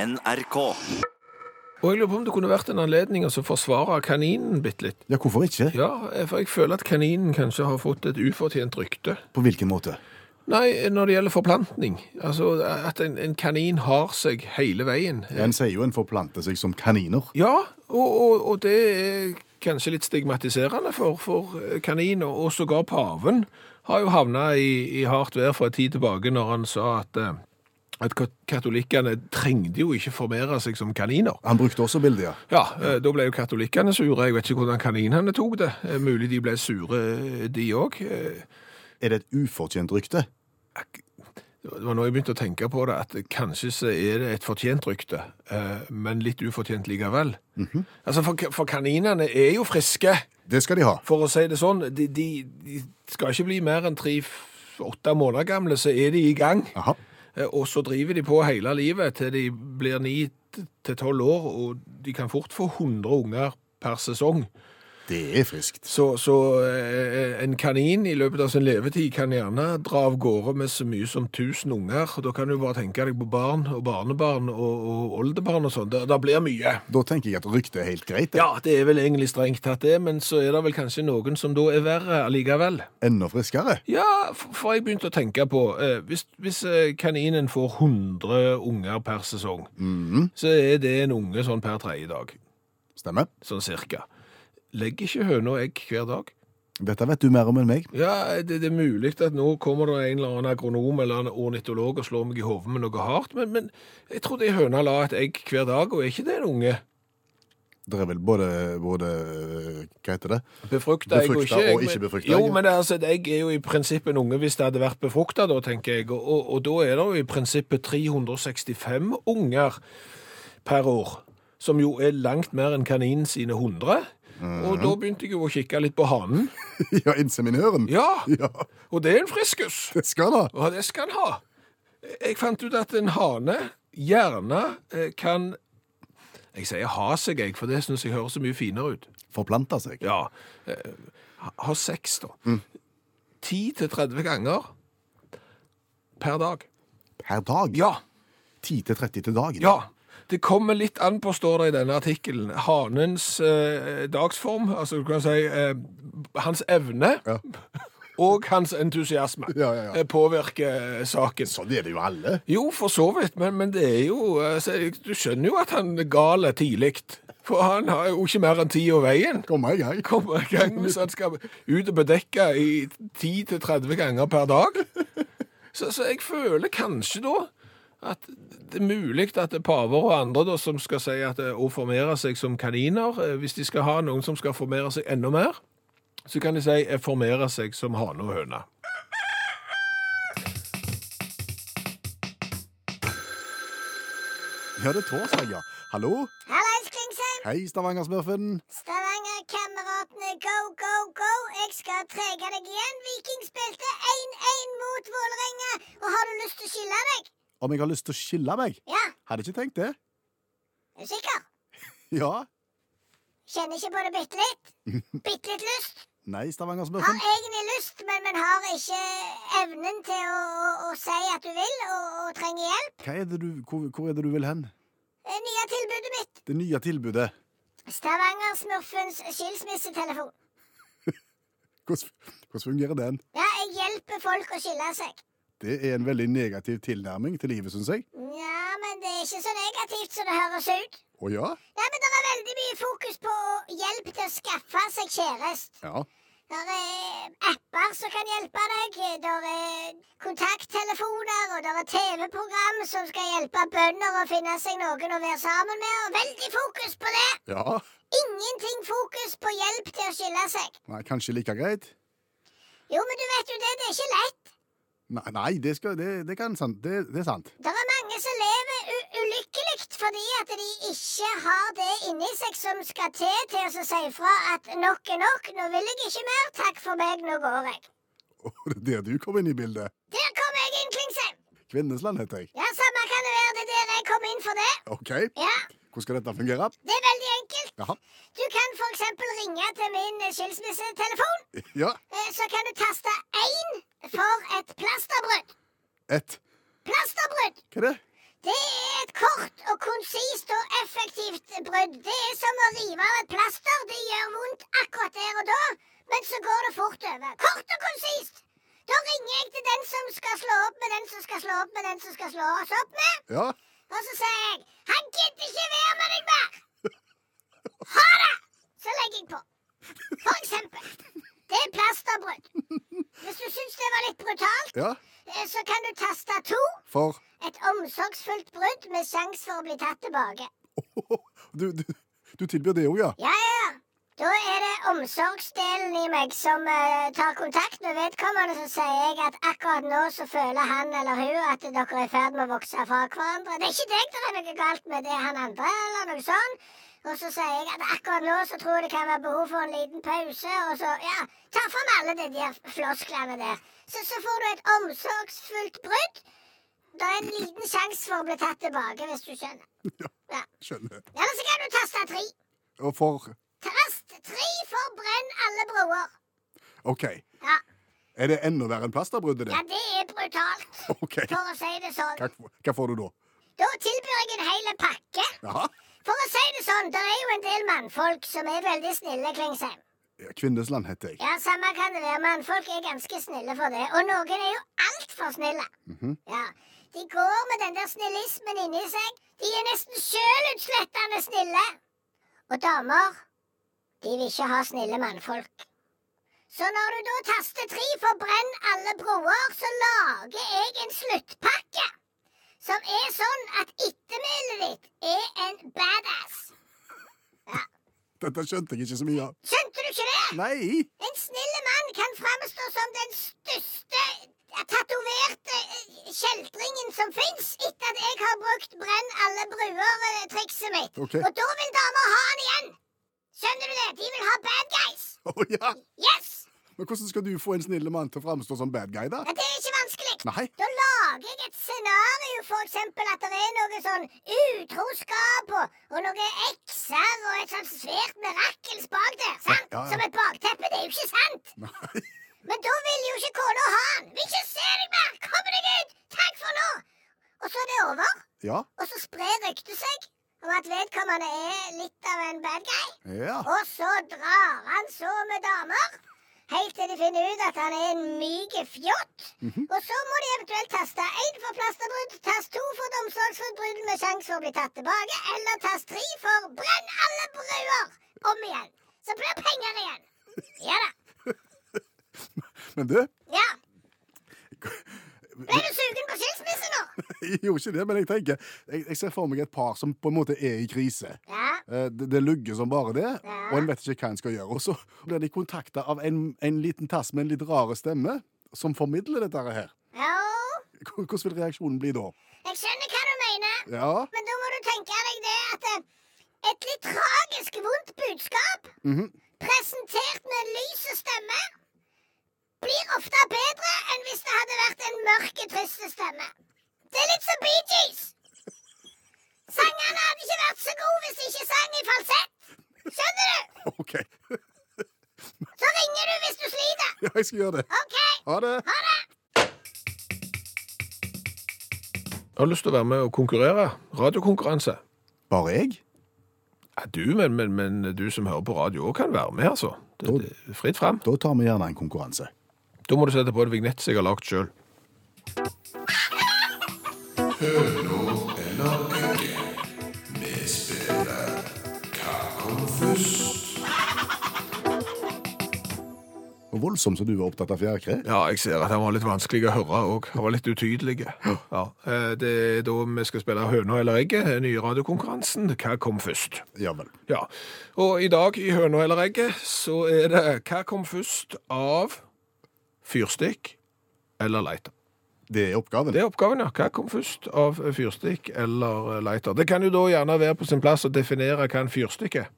NRK. Og jeg lurer på om det kunne vært en anledning å forsvare kaninen bitte litt. Ja, hvorfor ikke? Ja, for jeg føler at kaninen kanskje har fått et ufortjent rykte. På hvilken måte? Nei, når det gjelder forplantning. Altså at en, en kanin har seg hele veien. En sier jo en forplanter seg som kaniner. Ja, og, og, og det er kanskje litt stigmatiserende for, for kanin, og, og sågar paven har jo havna i, i hardt vær for en tid tilbake når han sa at, eh, at kat- katolikkene trengte jo ikke formere seg som kaniner. Han brukte også bildet, ja. Ja, eh, da ble jo katolikkene sure. Jeg vet ikke hvordan kaninene tok det. Eh, Mulig de ble sure, eh, de Eh, òg. Er det et ufortjent rykte? Det var nå jeg begynte å tenke på det, at kanskje så er det et fortjent rykte, eh, men litt ufortjent likevel. Altså, for, for kaninene er jo friske, Det skal de ha. for å si det sånn. De, de, de skal ikke bli mer enn tre-åtte måneder gamle, så er de i gang. Aha. Eh, Og så driver de på hele livet til de blir 9-12 år, og de kan fort få 100 unger per sesong. Det er friskt. Så, så eh, en kanin i løpet av sin levetid kan gjerne dra av gårde med så mye som 1000 unger. og Da kan du bare tenke deg på barn og barnebarn og, og oldebarn og sånn. Det, det blir mye. Da tenker jeg at ryktet er helt greit. det. Ja, det er vel egentlig strengt tatt det, men så er det vel kanskje noen som da er verre allikevel. Enda friskere. Ja, for for jeg begynte å tenke på eh, Hvis, hvis eh, kaninen får 100 unger per sesong, så er det en unge sånn per tredje dag. Mhm, Stemmer. Sånn cirka. Legger ikke høna egg hver dag? Dette vet du mer om enn meg. Ja, det, det er mulig at nå kommer det en eller annen agronom eller en ornitolog og slår meg i hodet med noe hardt, men, men jeg trodde ei høne la et egg hver dag, og er ikke det en unge? Det er vel både, både Hva heter det? Befrukta egg og Befrukta ikke egg. og ikke men- befrukta Jo, egg, ja. men det, er altså, et egg er jo i prinsippet en unge hvis det hadde vært befrukta, da, tenker jeg. Og, og, og da er det jo i prinsippet 365 unger per år, som jo er langt mer enn kaninen sine 100. Mhm. Og da begynte jeg jo å kikke litt på hanen. Ja, inseminøren. Ja, Ja, og det er en friskus! det skal da. Ja, det skal han ha. Jeg fant ut at en hane gjerne eh, kan Jeg sier ha seg, jeg, for det syns jeg høres så mye finere ut. Forplanta seg. Ja. eh, Ha ha sex, da. Mm. 10-30 ganger per dag. Per dag. Ja. 10-30 til dagen. Ja. Det kommer litt an på, står det i denne artikkelen, hanens eh, dagsform, altså du kan si eh, hans evne Ja. og hans entusiasme Ja, ja, ja. eh, påvirker eh, saken. Sånn er det jo alle. Jo, for så vidt, men, men det er jo altså, Du skjønner jo at han er gal tidlig. For han har jo ikke mer enn tid og veien. Kom i gang. Kommer i gang hvis han skal ut og bedekke i 10-30 ganger per dag. Så, så jeg føler kanskje da at det er mulig at det er paver og andre da, som skal si at eh, å formere seg som kaniner eh, Hvis de skal ha noen som skal formere seg enda mer, så kan de si eh, formere seg som hane og høne. Ja, det er torsdag, ja. Hallo? Hallais, Klingsheim! Hei, Stavanger-smurfen. Stavanger-kameratene, go, go, go! Jeg skal trege deg igjen. Viking spilte 1-1 mot Vålerenga. Og har du lyst til å skille deg? Om jeg har lyst til å skille meg? Ja, Hadde ikke tenkt det. er du sikker? Ja. Kjenner ikke på det bitte litt. Bitte litt lyst. Nei, Stavanger-smurfen. Har egentlig lyst, men, men har ikke evnen til å, å, å si at du vil, og, og trenger hjelp. Hva er det du, hvor, hvor er det du vil hen? Det nye tilbudet mitt. Det nye tilbudet. Stavanger-smurfens skilsmissetelefon. Hvordan, hvordan fungerer den? Ja, jeg hjelper folk å skille seg. Det er en veldig negativ tilnærming til livet, syns jeg. Ja, men det er ikke så negativt som det høres ut. Å ja? Nei, men Det er veldig mye fokus på å hjelp til å skaffe seg kjæreste. Ja. Det er eh, apper som kan hjelpe deg, det er eh, kontakttelefoner, og det er TV-program som skal hjelpe bønder å finne seg noen å være sammen med. og Veldig fokus på det! Ja. Ingenting fokus på hjelp til å skille seg. Nei, kanskje like greit? Jo, men du vet jo det, det er ikke lett. Nei, nei det, skal, det, det, kan, sant, det, det er sant. Det er mange som lever u ulykkelig fordi at de ikke har det inni seg som skal til til å si fra at nok er nok, nå vil jeg ikke mer, takk for meg, nå går jeg. Og det er der du kom inn i bildet. Der kom jeg inn, Klingsheim! Kvinnesland heter jeg. Ja, samme kan det være, det er der jeg kom inn for det. OK, Ja, hvordan skal dette fungere? det er veldig enkelt. Jaha. Du kan for eksempel ringe til min eh, skilsmissetelefon. Ja. Eh, Så kan du taste én for et plasterbrudd. Ett. Plasterbrudd, Hva er det? det er et kort og hvor konsist og effektivt brudd. Det er som å rive av et plaster. Det gjør vondt akkurat der og da, men så går det fort over. Kort og konsist. Da ringer jeg til den som skal slå opp med den som skal slå opp med den som skal slå oss opp med. Ja. Og så sier jeg 'Han gidder ikke være med deg mer'. Ha det! Så legger jeg på. For eksempel. Det er plasterbrudd. Hvis du syns det var litt brutalt, ja. eh, så kan du taste to. For Et omsorgsfullt brudd med sjanse for å bli tatt tilbake. du, du, du tilbyr det òg, ja? Ja, ja, ja. Da er det omsorgsdelen i meg som eh, tar kontakt med vedkommende, så sier jeg at akkurat nå så føler han eller hun at dere er i ferd med å vokse fra hverandre. Det er ikke deg det er noe galt med, det er han andre, eller noe sånn. Og så sier jeg at akkurat nå så tror jeg det kan være behov for en liten pause, og så ja, ta fram alle de der flosklene der. Så, så får du et omsorgsfullt brudd. Det er en liten sjanse for å bli tatt tilbake, hvis du skjønner. Ja. Skjønner. Eller så kan du taste tre. Og for Tast tre for brenn alle broer. OK. Ja, Er det enda verre enn plasterbruddet, ja det? det er brutalt, OK. for å si det sånn. Hva, hva får du da? Da tilbyr jeg en hel pakke. Jaha? For å si det sånn, det er jo en del mannfolk som er veldig snille, Klingsheim. Ja, Kvinnesland heter jeg. Ja, samme kan det være. Mannfolk er ganske snille for det. Og noen er jo altfor snille. Mhm. Ja. De går med den der snillismen inni seg. De er nesten sjølutslettende snille. Og damer, de vil ikke ha snille mannfolk. Så når du da taster tre for brenn alle broer, så lager jeg en sluttpakke. Som er sånn at ettermælet ditt er en badass. Dette skjønte jeg ikke så mye av. Skjønte du ikke det? Nei! En snille mann kan framstå som den største eh, tatoverte eh, kjeltringen som fins, etter at jeg har brukt 'brenn alle bruer'-trikset mitt. Ok. Og da vil damer ha han igjen! Skjønner du det? De vil ha bad guys! Å ja! Yes! Men hvordan skal du få en snille mann til å framstå som bad guy, da? Ja, det er ikke vanskelig. Nei? Da lager jeg et scenario, for eksempel at det er noe sånn utroskap og, og noe ekser og et sånt svært mirakels bak der, sant? Ja, ja. Som et bakteppe. Det er jo ikke sant! Nei. Men da vil jo ikke kona ha han! Vil ikke se deg mer! Kom deg ut! Takk for nå! Og så er det over. Ja. Og så sprer ryktet seg om at vedkommende er litt av en bad guy. Ja. Og så drar han så med damer. Helt til de finner ut at han er en myk fjott. Og så må de eventuelt taste én for plasterbrudd, tast to for omsorgsforbrudd med sjanse for å bli tatt tilbake, eller tast tre for brenn alle bruer om igjen. Så blir det penger igjen. Ja da. Men du, Ja. Ble du sugen på skilsmisse nå? jeg gjorde ikke det, men jeg tenker Jeg, jeg ser for meg et par som på en måte er i krise. Ja. Eh, Det, det lugger som bare det, Ja. og en vet ikke hva en skal gjøre. Og så blir de kontakta av en, en liten tass med en litt rare stemme, som formidler dette her. Jo, H- Hvordan vil reaksjonen bli da? jeg skjønner hva du mener. Ja, Men da må du tenke deg det at eh, et litt tragisk, vondt budskap Mhm. presentert med en lys stemme blir ofte bedre enn hvis det hadde vært en mørk, trist stemme. Det er litt som Bee Gees. Sangene hadde ikke vært så gode hvis de ikke sang i falsett. Skjønner du? OK. Ja, Så ringer du hvis du sliter. jeg skal gjøre det. OK, Ha det. ha det. Har du lyst til å være med og konkurrere? Radiokonkurranse. Bare jeg? Ja, du, men, men, men du som hører på radio òg kan være med, altså. Det, det, er fritt fram. Da tar vi gjerne en konkurranse. Da må du sette på en vignett som jeg har lagd sjøl. Og voldsomt som du var opptatt av fjærkre. Ja, jeg ser at han var litt vanskelig å høre òg. Han var litt utydelig. Ja. eh, Det er da vi skal spille Høna eller egget, den nye radiokonkurransen. Hva kom først? Ja vel. Ja. Og i dag i Høna eller egget så er det Hva kom først av fyrstikk eller lighter? Det er oppgaven. Det er oppgaven, ja. Hva kom først av fyrstikk eller lighter? Det kan jo da gjerne være på sin plass å definere hva en fyrstikk er.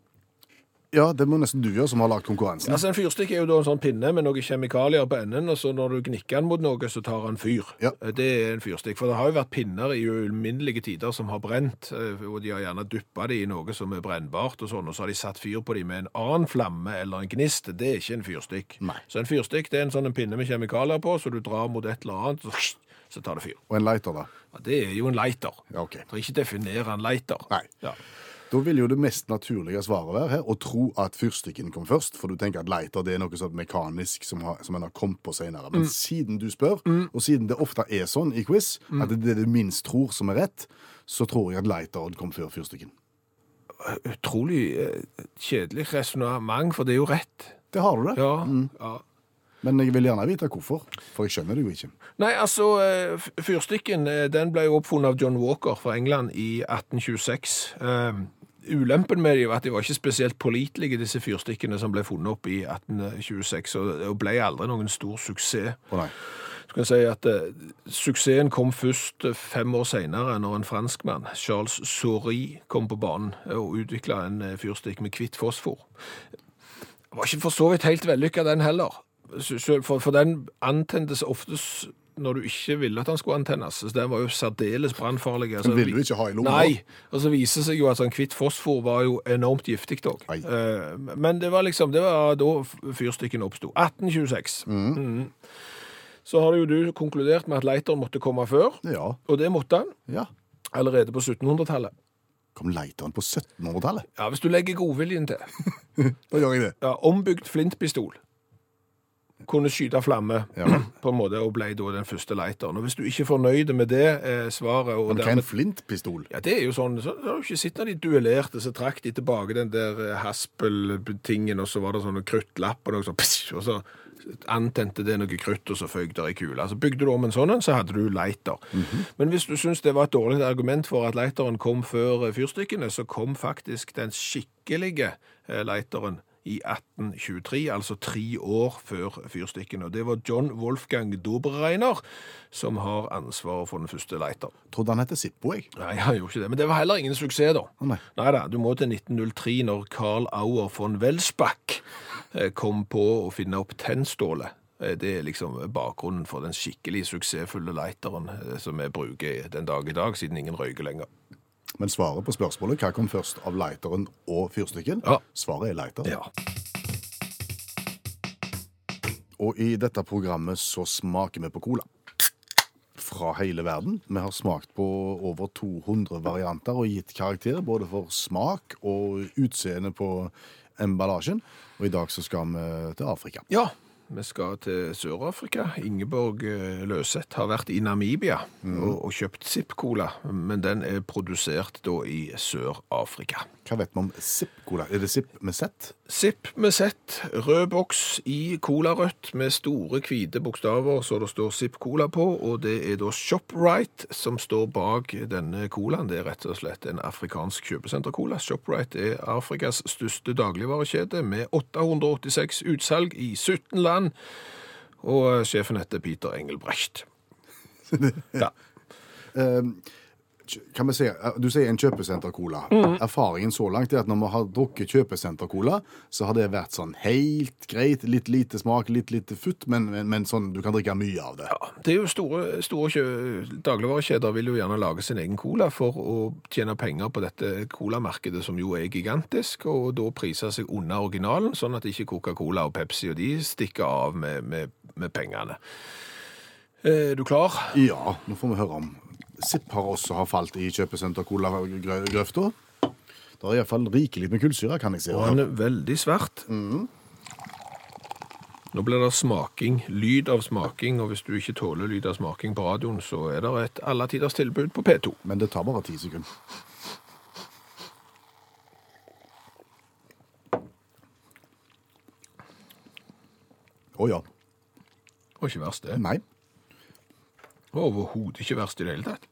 Ja, det må nesten du gjøre, som har lagd konkurransen. Altså En fyrstikk er jo da en sånn pinne med noen kjemikalier på enden, og så når du gnikker den mot noe, så tar han fyr. Ja. Eh, Det er en fyrstikk. For det har jo vært pinner i uminnelige tider som har brent, eh, og de har gjerne duppa det i noe som er brennbart, og sånn, og så har de satt fyr på dem med en annen flamme eller en gnist. Det er ikke en fyrstikk. Nei. Så en fyrstikk det er en sånn en pinne med kjemikalier på, så du drar mot et eller annet, så så tar det fyr. Og en lighter, da. Ja, det er jo en lighter. Ja, ok. Du kan ikke definere en lighter. Nei. Ja. Da vil jo det mest naturlige svaret være her å tro at fyrstikken kom først, for du tenker at lighter det er noe sånn mekanisk som, har, som en har kommet på senere. Men siden du spør, og siden det ofte er sånn i quiz, at det er det du minst tror som er rett, så tror jeg at lighteren kom før fyrstikken. Utrolig eh, kjedelig resonnement, for det er jo rett. Det har du det. Ja, ja. Men jeg vil gjerne vite hvorfor, for jeg skjønner det jo ikke. Nei, altså, eh, f- fyrstikken eh, den ble jo oppfunnet av John Walker fra England i 1826. Eh, Ulempen med det var at de var ikke spesielt pålitelige, disse fyrstikkene som ble funnet opp i 1826, og- og ble aldri noen stor suksess. Å nei. Du kan si at eh, Suksessen kom først eh, fem år senere, når en franskmann, Charles Saurie, kom på banen eh, og utvikla en eh, fyrstikk med hvitt fosfor. Det var ikke for så vidt helt vellykka, den heller. Så- så- For, for den antentes oftest når du ikke ville at den skulle antennes. Så Den var jo særdeles brannfarlig. altså. Den ville du ikke ha i lomma. Nei. Og så viser det seg jo at sånn hvitt fosfor var jo enormt giftig òg. Ai. Men det var liksom Det var da fyrstikken oppsto. 1826. Mm. Mhm. Så har jo du konkludert med at lighteren måtte komme før, Ja. og det måtte han ja. allerede på 1700-tallet. Kom lighteren på 1700-tallet? Ja, Hvis du legger godviljen til. Da gjør jeg det. Ja, Ombygd flintpistol kunne skyte flamme, Ja. på en måte, og ble da den første lighteren. Og Hvis du ikke er fornøyd med det eh, svaret og Men hva er en dermed, flintpistol? ja, Det er jo sånn, så, så har du ikke sett når de duellerte, så trakk de tilbake den der eh, haspeltingen, og så var det sånn kruttlapp og noe sånn, pss, og så antente det noe krutt, og så føyk der ei kule. Altså, bygde du om en sånn en, så hadde du lighter. Men hvis du syns det var et dårlig argument for at lighteren kom før eh, fyrstikkene, så kom faktisk den skikkelige eh, lighteren i 1823, altså tre år før fyrstikkene. Og det var John Wolfgang Dobereiner som har ansvaret for den første lighter. Trodde han het Sippo, jeg. Nei, han gjorde ikke det. Men det var heller ingen suksess, da. Å, nei. da, du må til 1903, når Carl Auer von Welsbach eh, kom på å finne opp tennstålet. Eh, Det er liksom bakgrunnen for den skikkelig suksessfulle lighteren eh, som vi bruker den dag i dag, siden ingen røyker lenger. Men svaret på spørsmålet hva kom først av lighteren og fyrstikken? Ja. Svaret er lighteren. Ja. Og i dette programmet så smaker vi på cola. Fra hele verden. Vi har smakt på over 200 varianter og gitt karakter både for smak og utseende på emballasjen. Og i dag så skal vi til Afrika. ja. Vi skal til Sør-Afrika. Ingeborg eh, Løseth har vært i Namibia Mm. og, og kjøpt Zipp-cola, men den er produsert da i Sør-Afrika. Hva vet vi om Zipp-cola? Er det Zipp med Z? Zipp med sett, rød boks i colarødt med store hvite bokstaver så det står Zipp Cola på, og det er da ShopRite som står bak denne colaen. Det er rett og slett en afrikansk kjøpesenter-cola. ShopRite er Afrikas største dagligvarekjede med 886 utsalg i 17 land, og sjefen heter Peter Engelbrecht. Ja. Kan vi si, eh, du sier en kjøpesenter-cola. Erfaringen så langt er at når vi har drukket kjøpesenter-cola, så har det vært sånn helt greit, litt lite smak, litt lite futt, men, men, men sånn du kan drikke mye av det. Ja, det er jo store, store kjø- dagligvarekjeder vil jo gjerne lage sin egen cola for å tjene penger på dette colamarkedet, som jo er gigantisk, og da priser seg unna originalen, sånn at ikke Coca-Cola og Pepsi og de stikker av med, med, med pengene. Eh, Er du klar? Ja, nå får vi høre om Zipp har også har falt i kjøpesenter-cola-grøfta. Det er iallfall rikelig med kullsyre, kan jeg si. Og han er veldig svært. Nå blir det smaking, lyd av smaking, og hvis du ikke tåler lyd av smaking på radioen, så er det et alletiders tilbud på P2. Men det tar bare ti sekunder. Å ja. Og ikke verst det. Nei. Overhodet ikke verst i det hele tatt.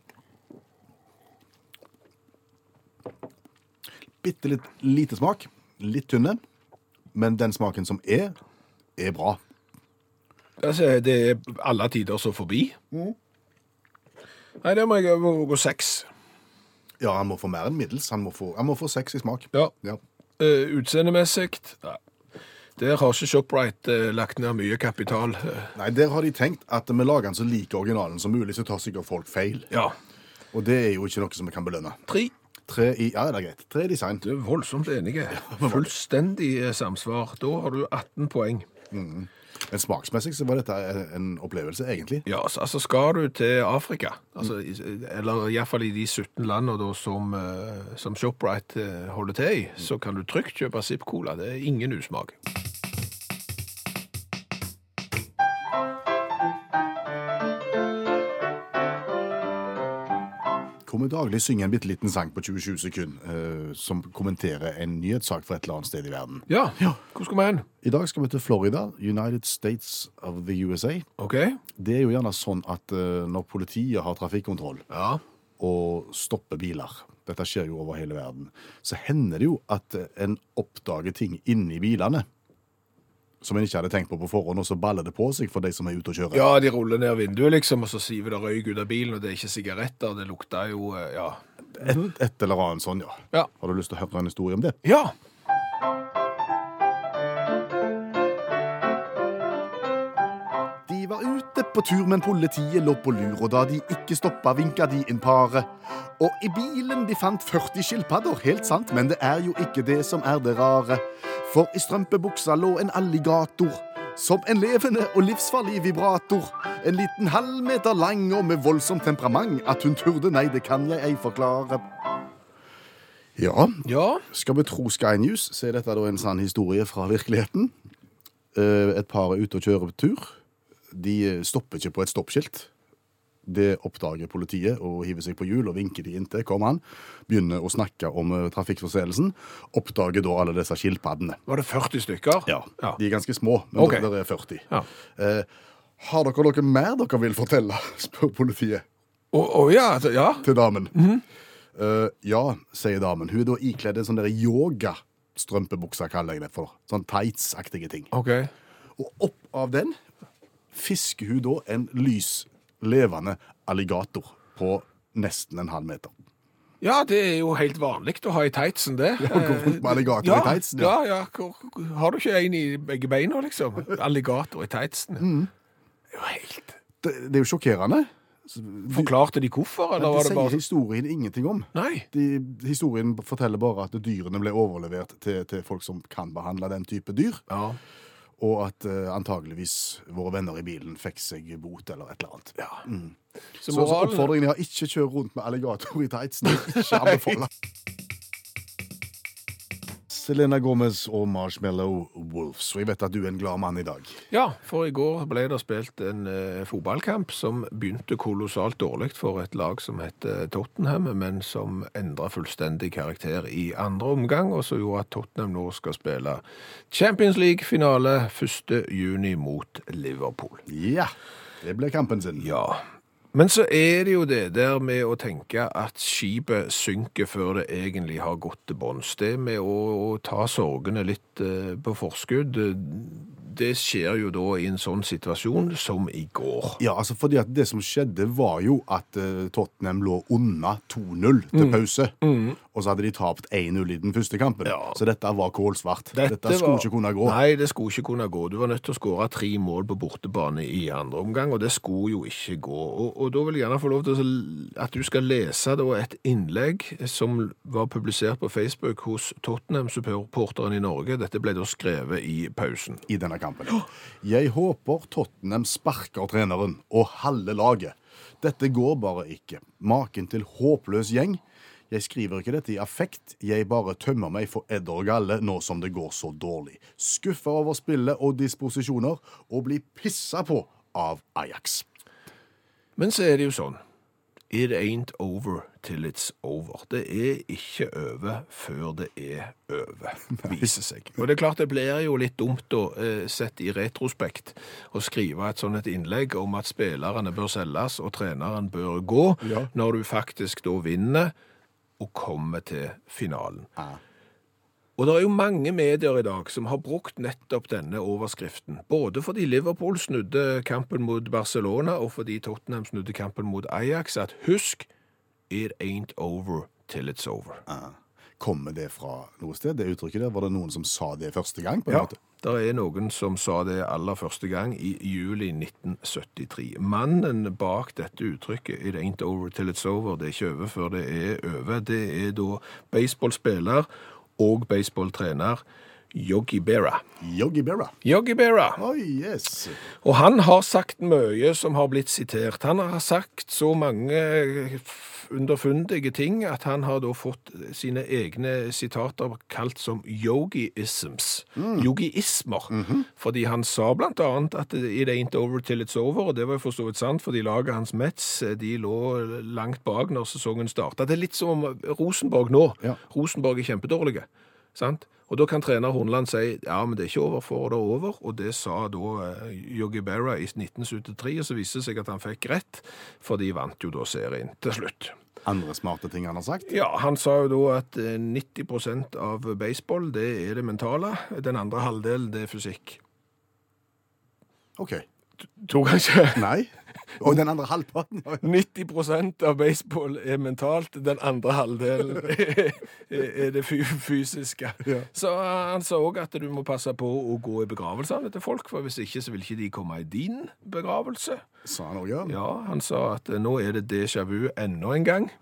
Bitte litt lite smak. Litt tynne. Men den smaken som er, er bra. Altså, det er alle tider så forbi. Nei, det må jeg jeg må gå seks. Ja, han må få mer enn middels. Han må få, han må få seks i smak. Ja. Ja. Eh, utseendemessig ja. Der har ikke ShopRite eh, lagt ned mye kapital. eh. Nei, der har de tenkt at vi lager den så lik originalen som mulig, så tar sikkert folk feil. ja. Og det er jo ikke noe som vi kan belønne. Tre. Tre i, ja, det er greit. Tre i design. Du er voldsomt enige. Fullstendig eh, samsvar. Da har du 18 poeng. Men smaksmessig så var dette en opplevelse, egentlig. Ja, altså, altså skal du til Afrika, altså, i- eller iallfall i de 17 landene da, som, eh, som ShopRite eh, holder til i, så kan du trygt kjøpe Zipp-cola. Det er ingen usmak. Hvor vi daglig synger en bitte liten sang på 20-20 sekunder eh, som kommenterer en nyhetssak fra et eller annet sted i verden. Ja, hvor skal vi hen? I dag skal vi til Florida, United States of the USA. OK. Det er jo gjerne sånn at eh, når politiet har trafikkontroll Ja. og stopper biler, dette skjer jo over hele verden, så hender det jo at eh, en oppdager ting inni bilene som en ikke hadde tenkt på på forhånd, og så baller det på seg for de som er ute og kjører. ja, de ruller ned vinduet, liksom, og så siver det røyk ut av bilen, og det er ikke sigaretter, det lukter jo eh, Ja. Et, et eller annet sånn, ja. Ja. Har du lyst til å høre en historie om det? ja. De var ute på tur, men politiet lå på lur, og da de ikke stoppa, vinka de inn paret. Og i bilen de fant 40 skilpadder, helt sant, men det er jo ikke det som er det rare. For i strømpebuksa lå en alligator, som en levende og livsfarlig vibrator. En liten halvmeter lang og med voldsomt temperament. At hun turde, nei, det kan jeg ei forklare. Ja, ja. skal vi tro Sky News, så er dette da en sann historie fra virkeligheten. Eh, Et par er ute og kjører på tur. De eh, stopper ikke på et stoppskilt. Det oppdager politiet og hiver seg på hjul og vinker de inntil. Kom han. Begynner å snakke om eh, trafikkforseelsen. Oppdager da alle disse skilpaddene. Var det 40 stykker? Ja, ja. De er ganske små, men Ok. det er 40. Ja. Eh, har dere noe mer dere vil fortelle? spør politiet Å å, ja, altså, ja. til damen. Eh, ja, sier damen. Hun er da ikledd en sånn der yogastrømpebukse, kaller jeg det for. Sånn tights-aktige ting. OK. Og opp av den fisker hun da en lys, levende alligator på nesten en halv meter. Ja, det er jo helt vanlig å ha i tightsen, det. Ja, gå rundt med alligator ja, i tightsen, Ja, ja. ja. Hvor- Har du ikke en i begge beina, liksom? Alligator i tightsen. Det er Jo, helt Det, det er jo sjokkerende. Forklarte de hvorfor, eller Men var det det sier bare sånn? historien ingenting om. Nei. De, historien forteller bare at dyrene ble overlevert til, til folk som kan behandle den type dyr, Ja. og at eh, antageligvis våre venner i bilen fikk seg bot eller et eller annet. Så Så, så moralen oppfordringen er ikke kjør rundt med alligator i tightsen. Ikke anbefale. Selena Gomez og Marshmallow Wolves. Og jeg vet at du er en glad mann i dag. Ja, for i går ble det spilt en eh, fotballkamp som begynte kolossalt dårlig for et lag som heter Tottenham, men som endra fullstendig karakter i andre omgang, og som gjorde at Tottenham nå skal spille Champions League-finale 1. juni mot Liverpool. Ja, det ble kampen sin. Ja. Men så er det jo det der med å tenke at skipet synker før det egentlig har gått til bunns. Det med å, å ta sorgene litt eh, på forskudd, eh, det skjer jo da i en sånn situasjon som i går. Ja, altså fordi at det som skjedde var jo at eh, Tottenham lå unna 2-0 til Mm. pause. Og så hadde de tapt 1-0 i den første kampen. Ja. Så dette var kålsvart. Dette, skulle var- ikke kunne gå. Nei, det skulle ikke kunne gå. Du var nødt til å skåre tre mål på bortebane i andre omgang, og det skulle jo ikke gå. Og, og da vil jeg gjerne få lov til å, at du skal lese da, et innlegg som var publisert på Facebook hos Tottenham-supporteren i Norge. Dette ble da skrevet i pausen. i denne kampen. Jeg håper Tottenham sparker treneren og halve laget. Dette går bare ikke. Maken til håpløs gjeng. Jeg skriver ikke dette i affekt, jeg bare tømmer meg for edder og galle nå som det går så dårlig. Skuffa over spillet og disposisjoner, og blir pissa på av Ajax. Men så er det jo sånn. It ain't over till it's over. Det er ikke over før det er over, viser seg. Og det er klart det blir jo litt dumt å eh, sett i retrospekt å skrive et sånt et innlegg om at spillerne bør selges og treneren bør gå, Ja. når du faktisk da vinner og kommer til finalen. Og det er jo mange medier i dag som har brukt nettopp denne overskriften, både fordi Liverpool snudde kampen mot Barcelona, og fordi Tottenham snudde kampen mot Ajax, at husk, it ain't over till it's over. Kommer det fra noe sted, det uttrykket der? Var det noen som sa det første gang? på en Ja, måte? det er noen som sa det aller første gang i juli 1973. Mannen bak dette uttrykket, it ain't over till it's over, det er ikke over før det er over, det er da baseballspiller og baseballtrener Yogi Berra. Yogi Berra. Yogi Berra. Oi, yes. Og han har sagt mye som har blitt sitert. Han har sagt så mange f- underfundige ting at han har da fått sine egne sitater kalt som yogiisms. Yogiismer. Fordi han sa blant annet at it ain't over till it's over, og det var jo for så vidt sant, fordi laget hans Mets de lå langt bak når sesongen starta. Det er litt som om Rosenborg nå. Ja. Rosenborg er kjempedårlige. Sant? Og da kan trener Hornland si ja, men det er ikke over for det er over, og det sa da eh, Yogi Berra i 1973, og så viste det seg at han fikk rett, for de vant jo da serien til slutt. Andre smarte ting han har sagt. Ja, han sa jo da at eh, 90 av baseball, det er det mentale, den andre halvdelen, det er fysikk. OK. Tok han ikke? Nei. Og den andre halvparten. 90 av baseball er mentalt, den andre halvdelen er- er det fy- fysiske. Ja. Så han sa òg at du må passe på å gå i begravelsene til folk, for hvis ikke så vil ikke de komme i din begravelse. Sa han òg, ja. Ja, han sa at eh, nå er det déjà vu enda en gang.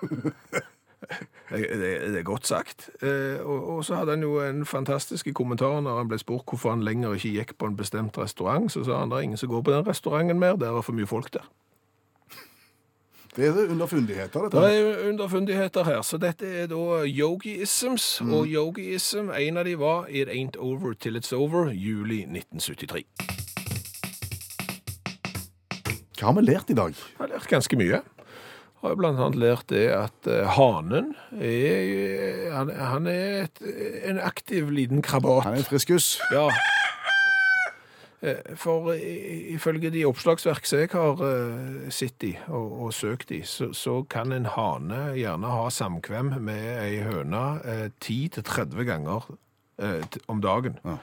Det, det, det er godt sagt. Eh, og, og så hadde han jo en fantastisk kommentar når han ble spurt hvorfor han lenger ikke gikk på en bestemt restaurant. Så sa han det er ingen som går på den restauranten mer, det er for mye folk der. Det er underfundigheter, Det er dette. jo underfundigheter her, så dette er da yogiisms, Mm. og yogiism, en av de var It Ain't Over Till It's Over, juli 1973. Hva har vi lært i dag? Jeg har lært ganske mye. Jeg har blant annet lært det at eh, hanen er, eh, han, han er et, eh, en aktiv liten krabat. Han er en friskus. Ja. Eh, For i- ifølge de oppslagsverk som jeg har eh, sett i og, og søkt i, så, så kan en hane gjerne ha samkvem med ei høne eh, 10-30 ganger eh, t- om dagen. Eh,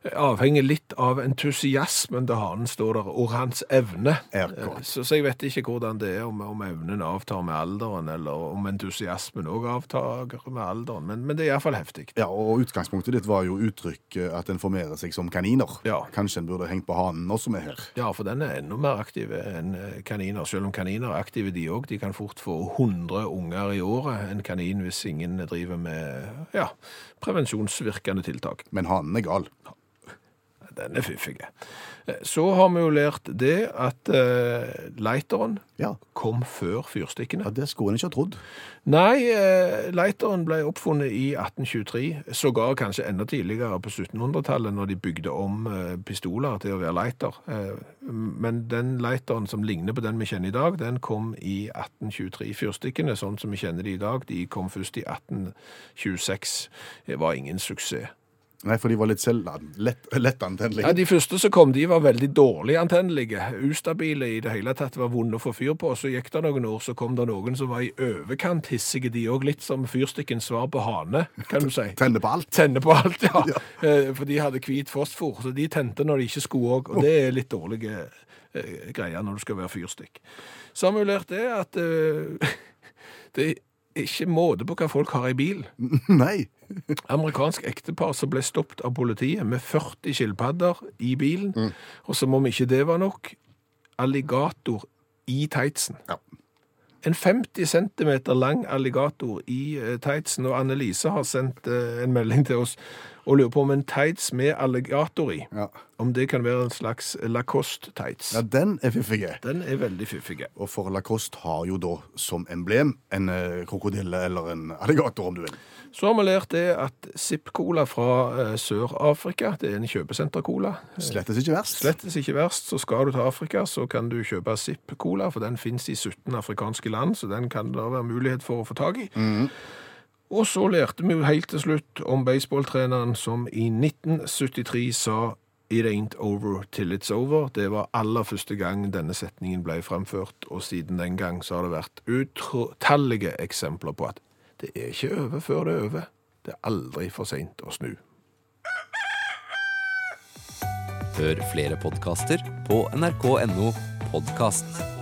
Ja. Avhenger litt av entusiasmen til hanen står der, og hans evne. Er Eh, godt. Så, så jeg vet ikke hvordan det er, om, om evnen avtar med alderen, eller om entusiasmen òg avtar med alderen, men, men det er iallfall heftig. Ja, og utgangspunktet ditt var jo uttrykket at en formerer seg som kaniner. Ja. Kanskje en burde hengt på hanen nå som er her. Ja, for den er enda mer aktiv enn eh, kaniner. Selv om kaniner er aktive, de òg. De kan fort få 100 unger i året, en kanin, hvis ingen driver med ja, prevensjonsvirkende tiltak. Men hanen er gal. Den er fiffig. Eh, Så har vi jo lært det at eh, lighteren Ja. kom før fyrstikkene. ja, det skulle en ikke ha trodd. Nei, eh, lighteren ble oppfunnet i 1823, sågar kanskje enda tidligere på 1700-tallet, når de bygde om eh, pistoler til å være lighter. Eh, Men den lighteren som ligner på den vi kjenner i dag, den kom i 1823. Fyrstikkene, sånn som vi kjenner de i dag, de kom først i 1826. Det var ingen suksess. Nei, for de var litt selv lett, lettantennelige. Ja, De første som kom, de var veldig dårlig antennelige, ustabile i det hele tatt, var vonde å få fyr på. Så gikk det noen år, så kom det noen som var i overkant hissige, de òg. Litt som fyrstikkens svar på hane, kan du si. Tenner på alt. Tenne på alt, ja. Eh, For de hadde hvit fosfor, så de tente når de ikke skulle òg. Og det er litt dårlige eh, greier når du skal være fyrstikk. Så har vi jo lært det at eh, det er ikke måte på hva folk har i bil. Nei. Amerikansk ektepar som ble stoppet av politiet med 40 skilpadder i bilen, Mm. og som om ikke det var nok, alligator i teitsen. Ja. En 50 cm lang alligator i eh, teitsen, og Annelise har sendt eh, en melding til oss og lurer på om en teits med alligator i, Ja. om det kan være en slags Lacoste-teits. ja, den er fiffige. Den er veldig fiffig. Og for Lacoste har jo da som emblem en eh, krokodille eller en alligator, om du vil. Så har vi lært det at Zipp-cola fra eh, Sør-Afrika, det er en kjøpesenter-cola, Slettes ikke verst. Slettes ikke verst, så skal du til Afrika, så kan du kjøpe Zipp-cola, for den finnes i 17 afrikanske land, så den kan det være mulighet for å få tak i. Og så lærte vi jo helt til slutt om baseballtreneren som i 1973 sa It ain't over till it's over. Det var aller første gang denne setningen ble fremført, og siden den gang så har det vært utallige eksempler på at det er ikke over før det er over. Det er aldri for seint å snu. Hør flere podkaster på nrk.no podkast.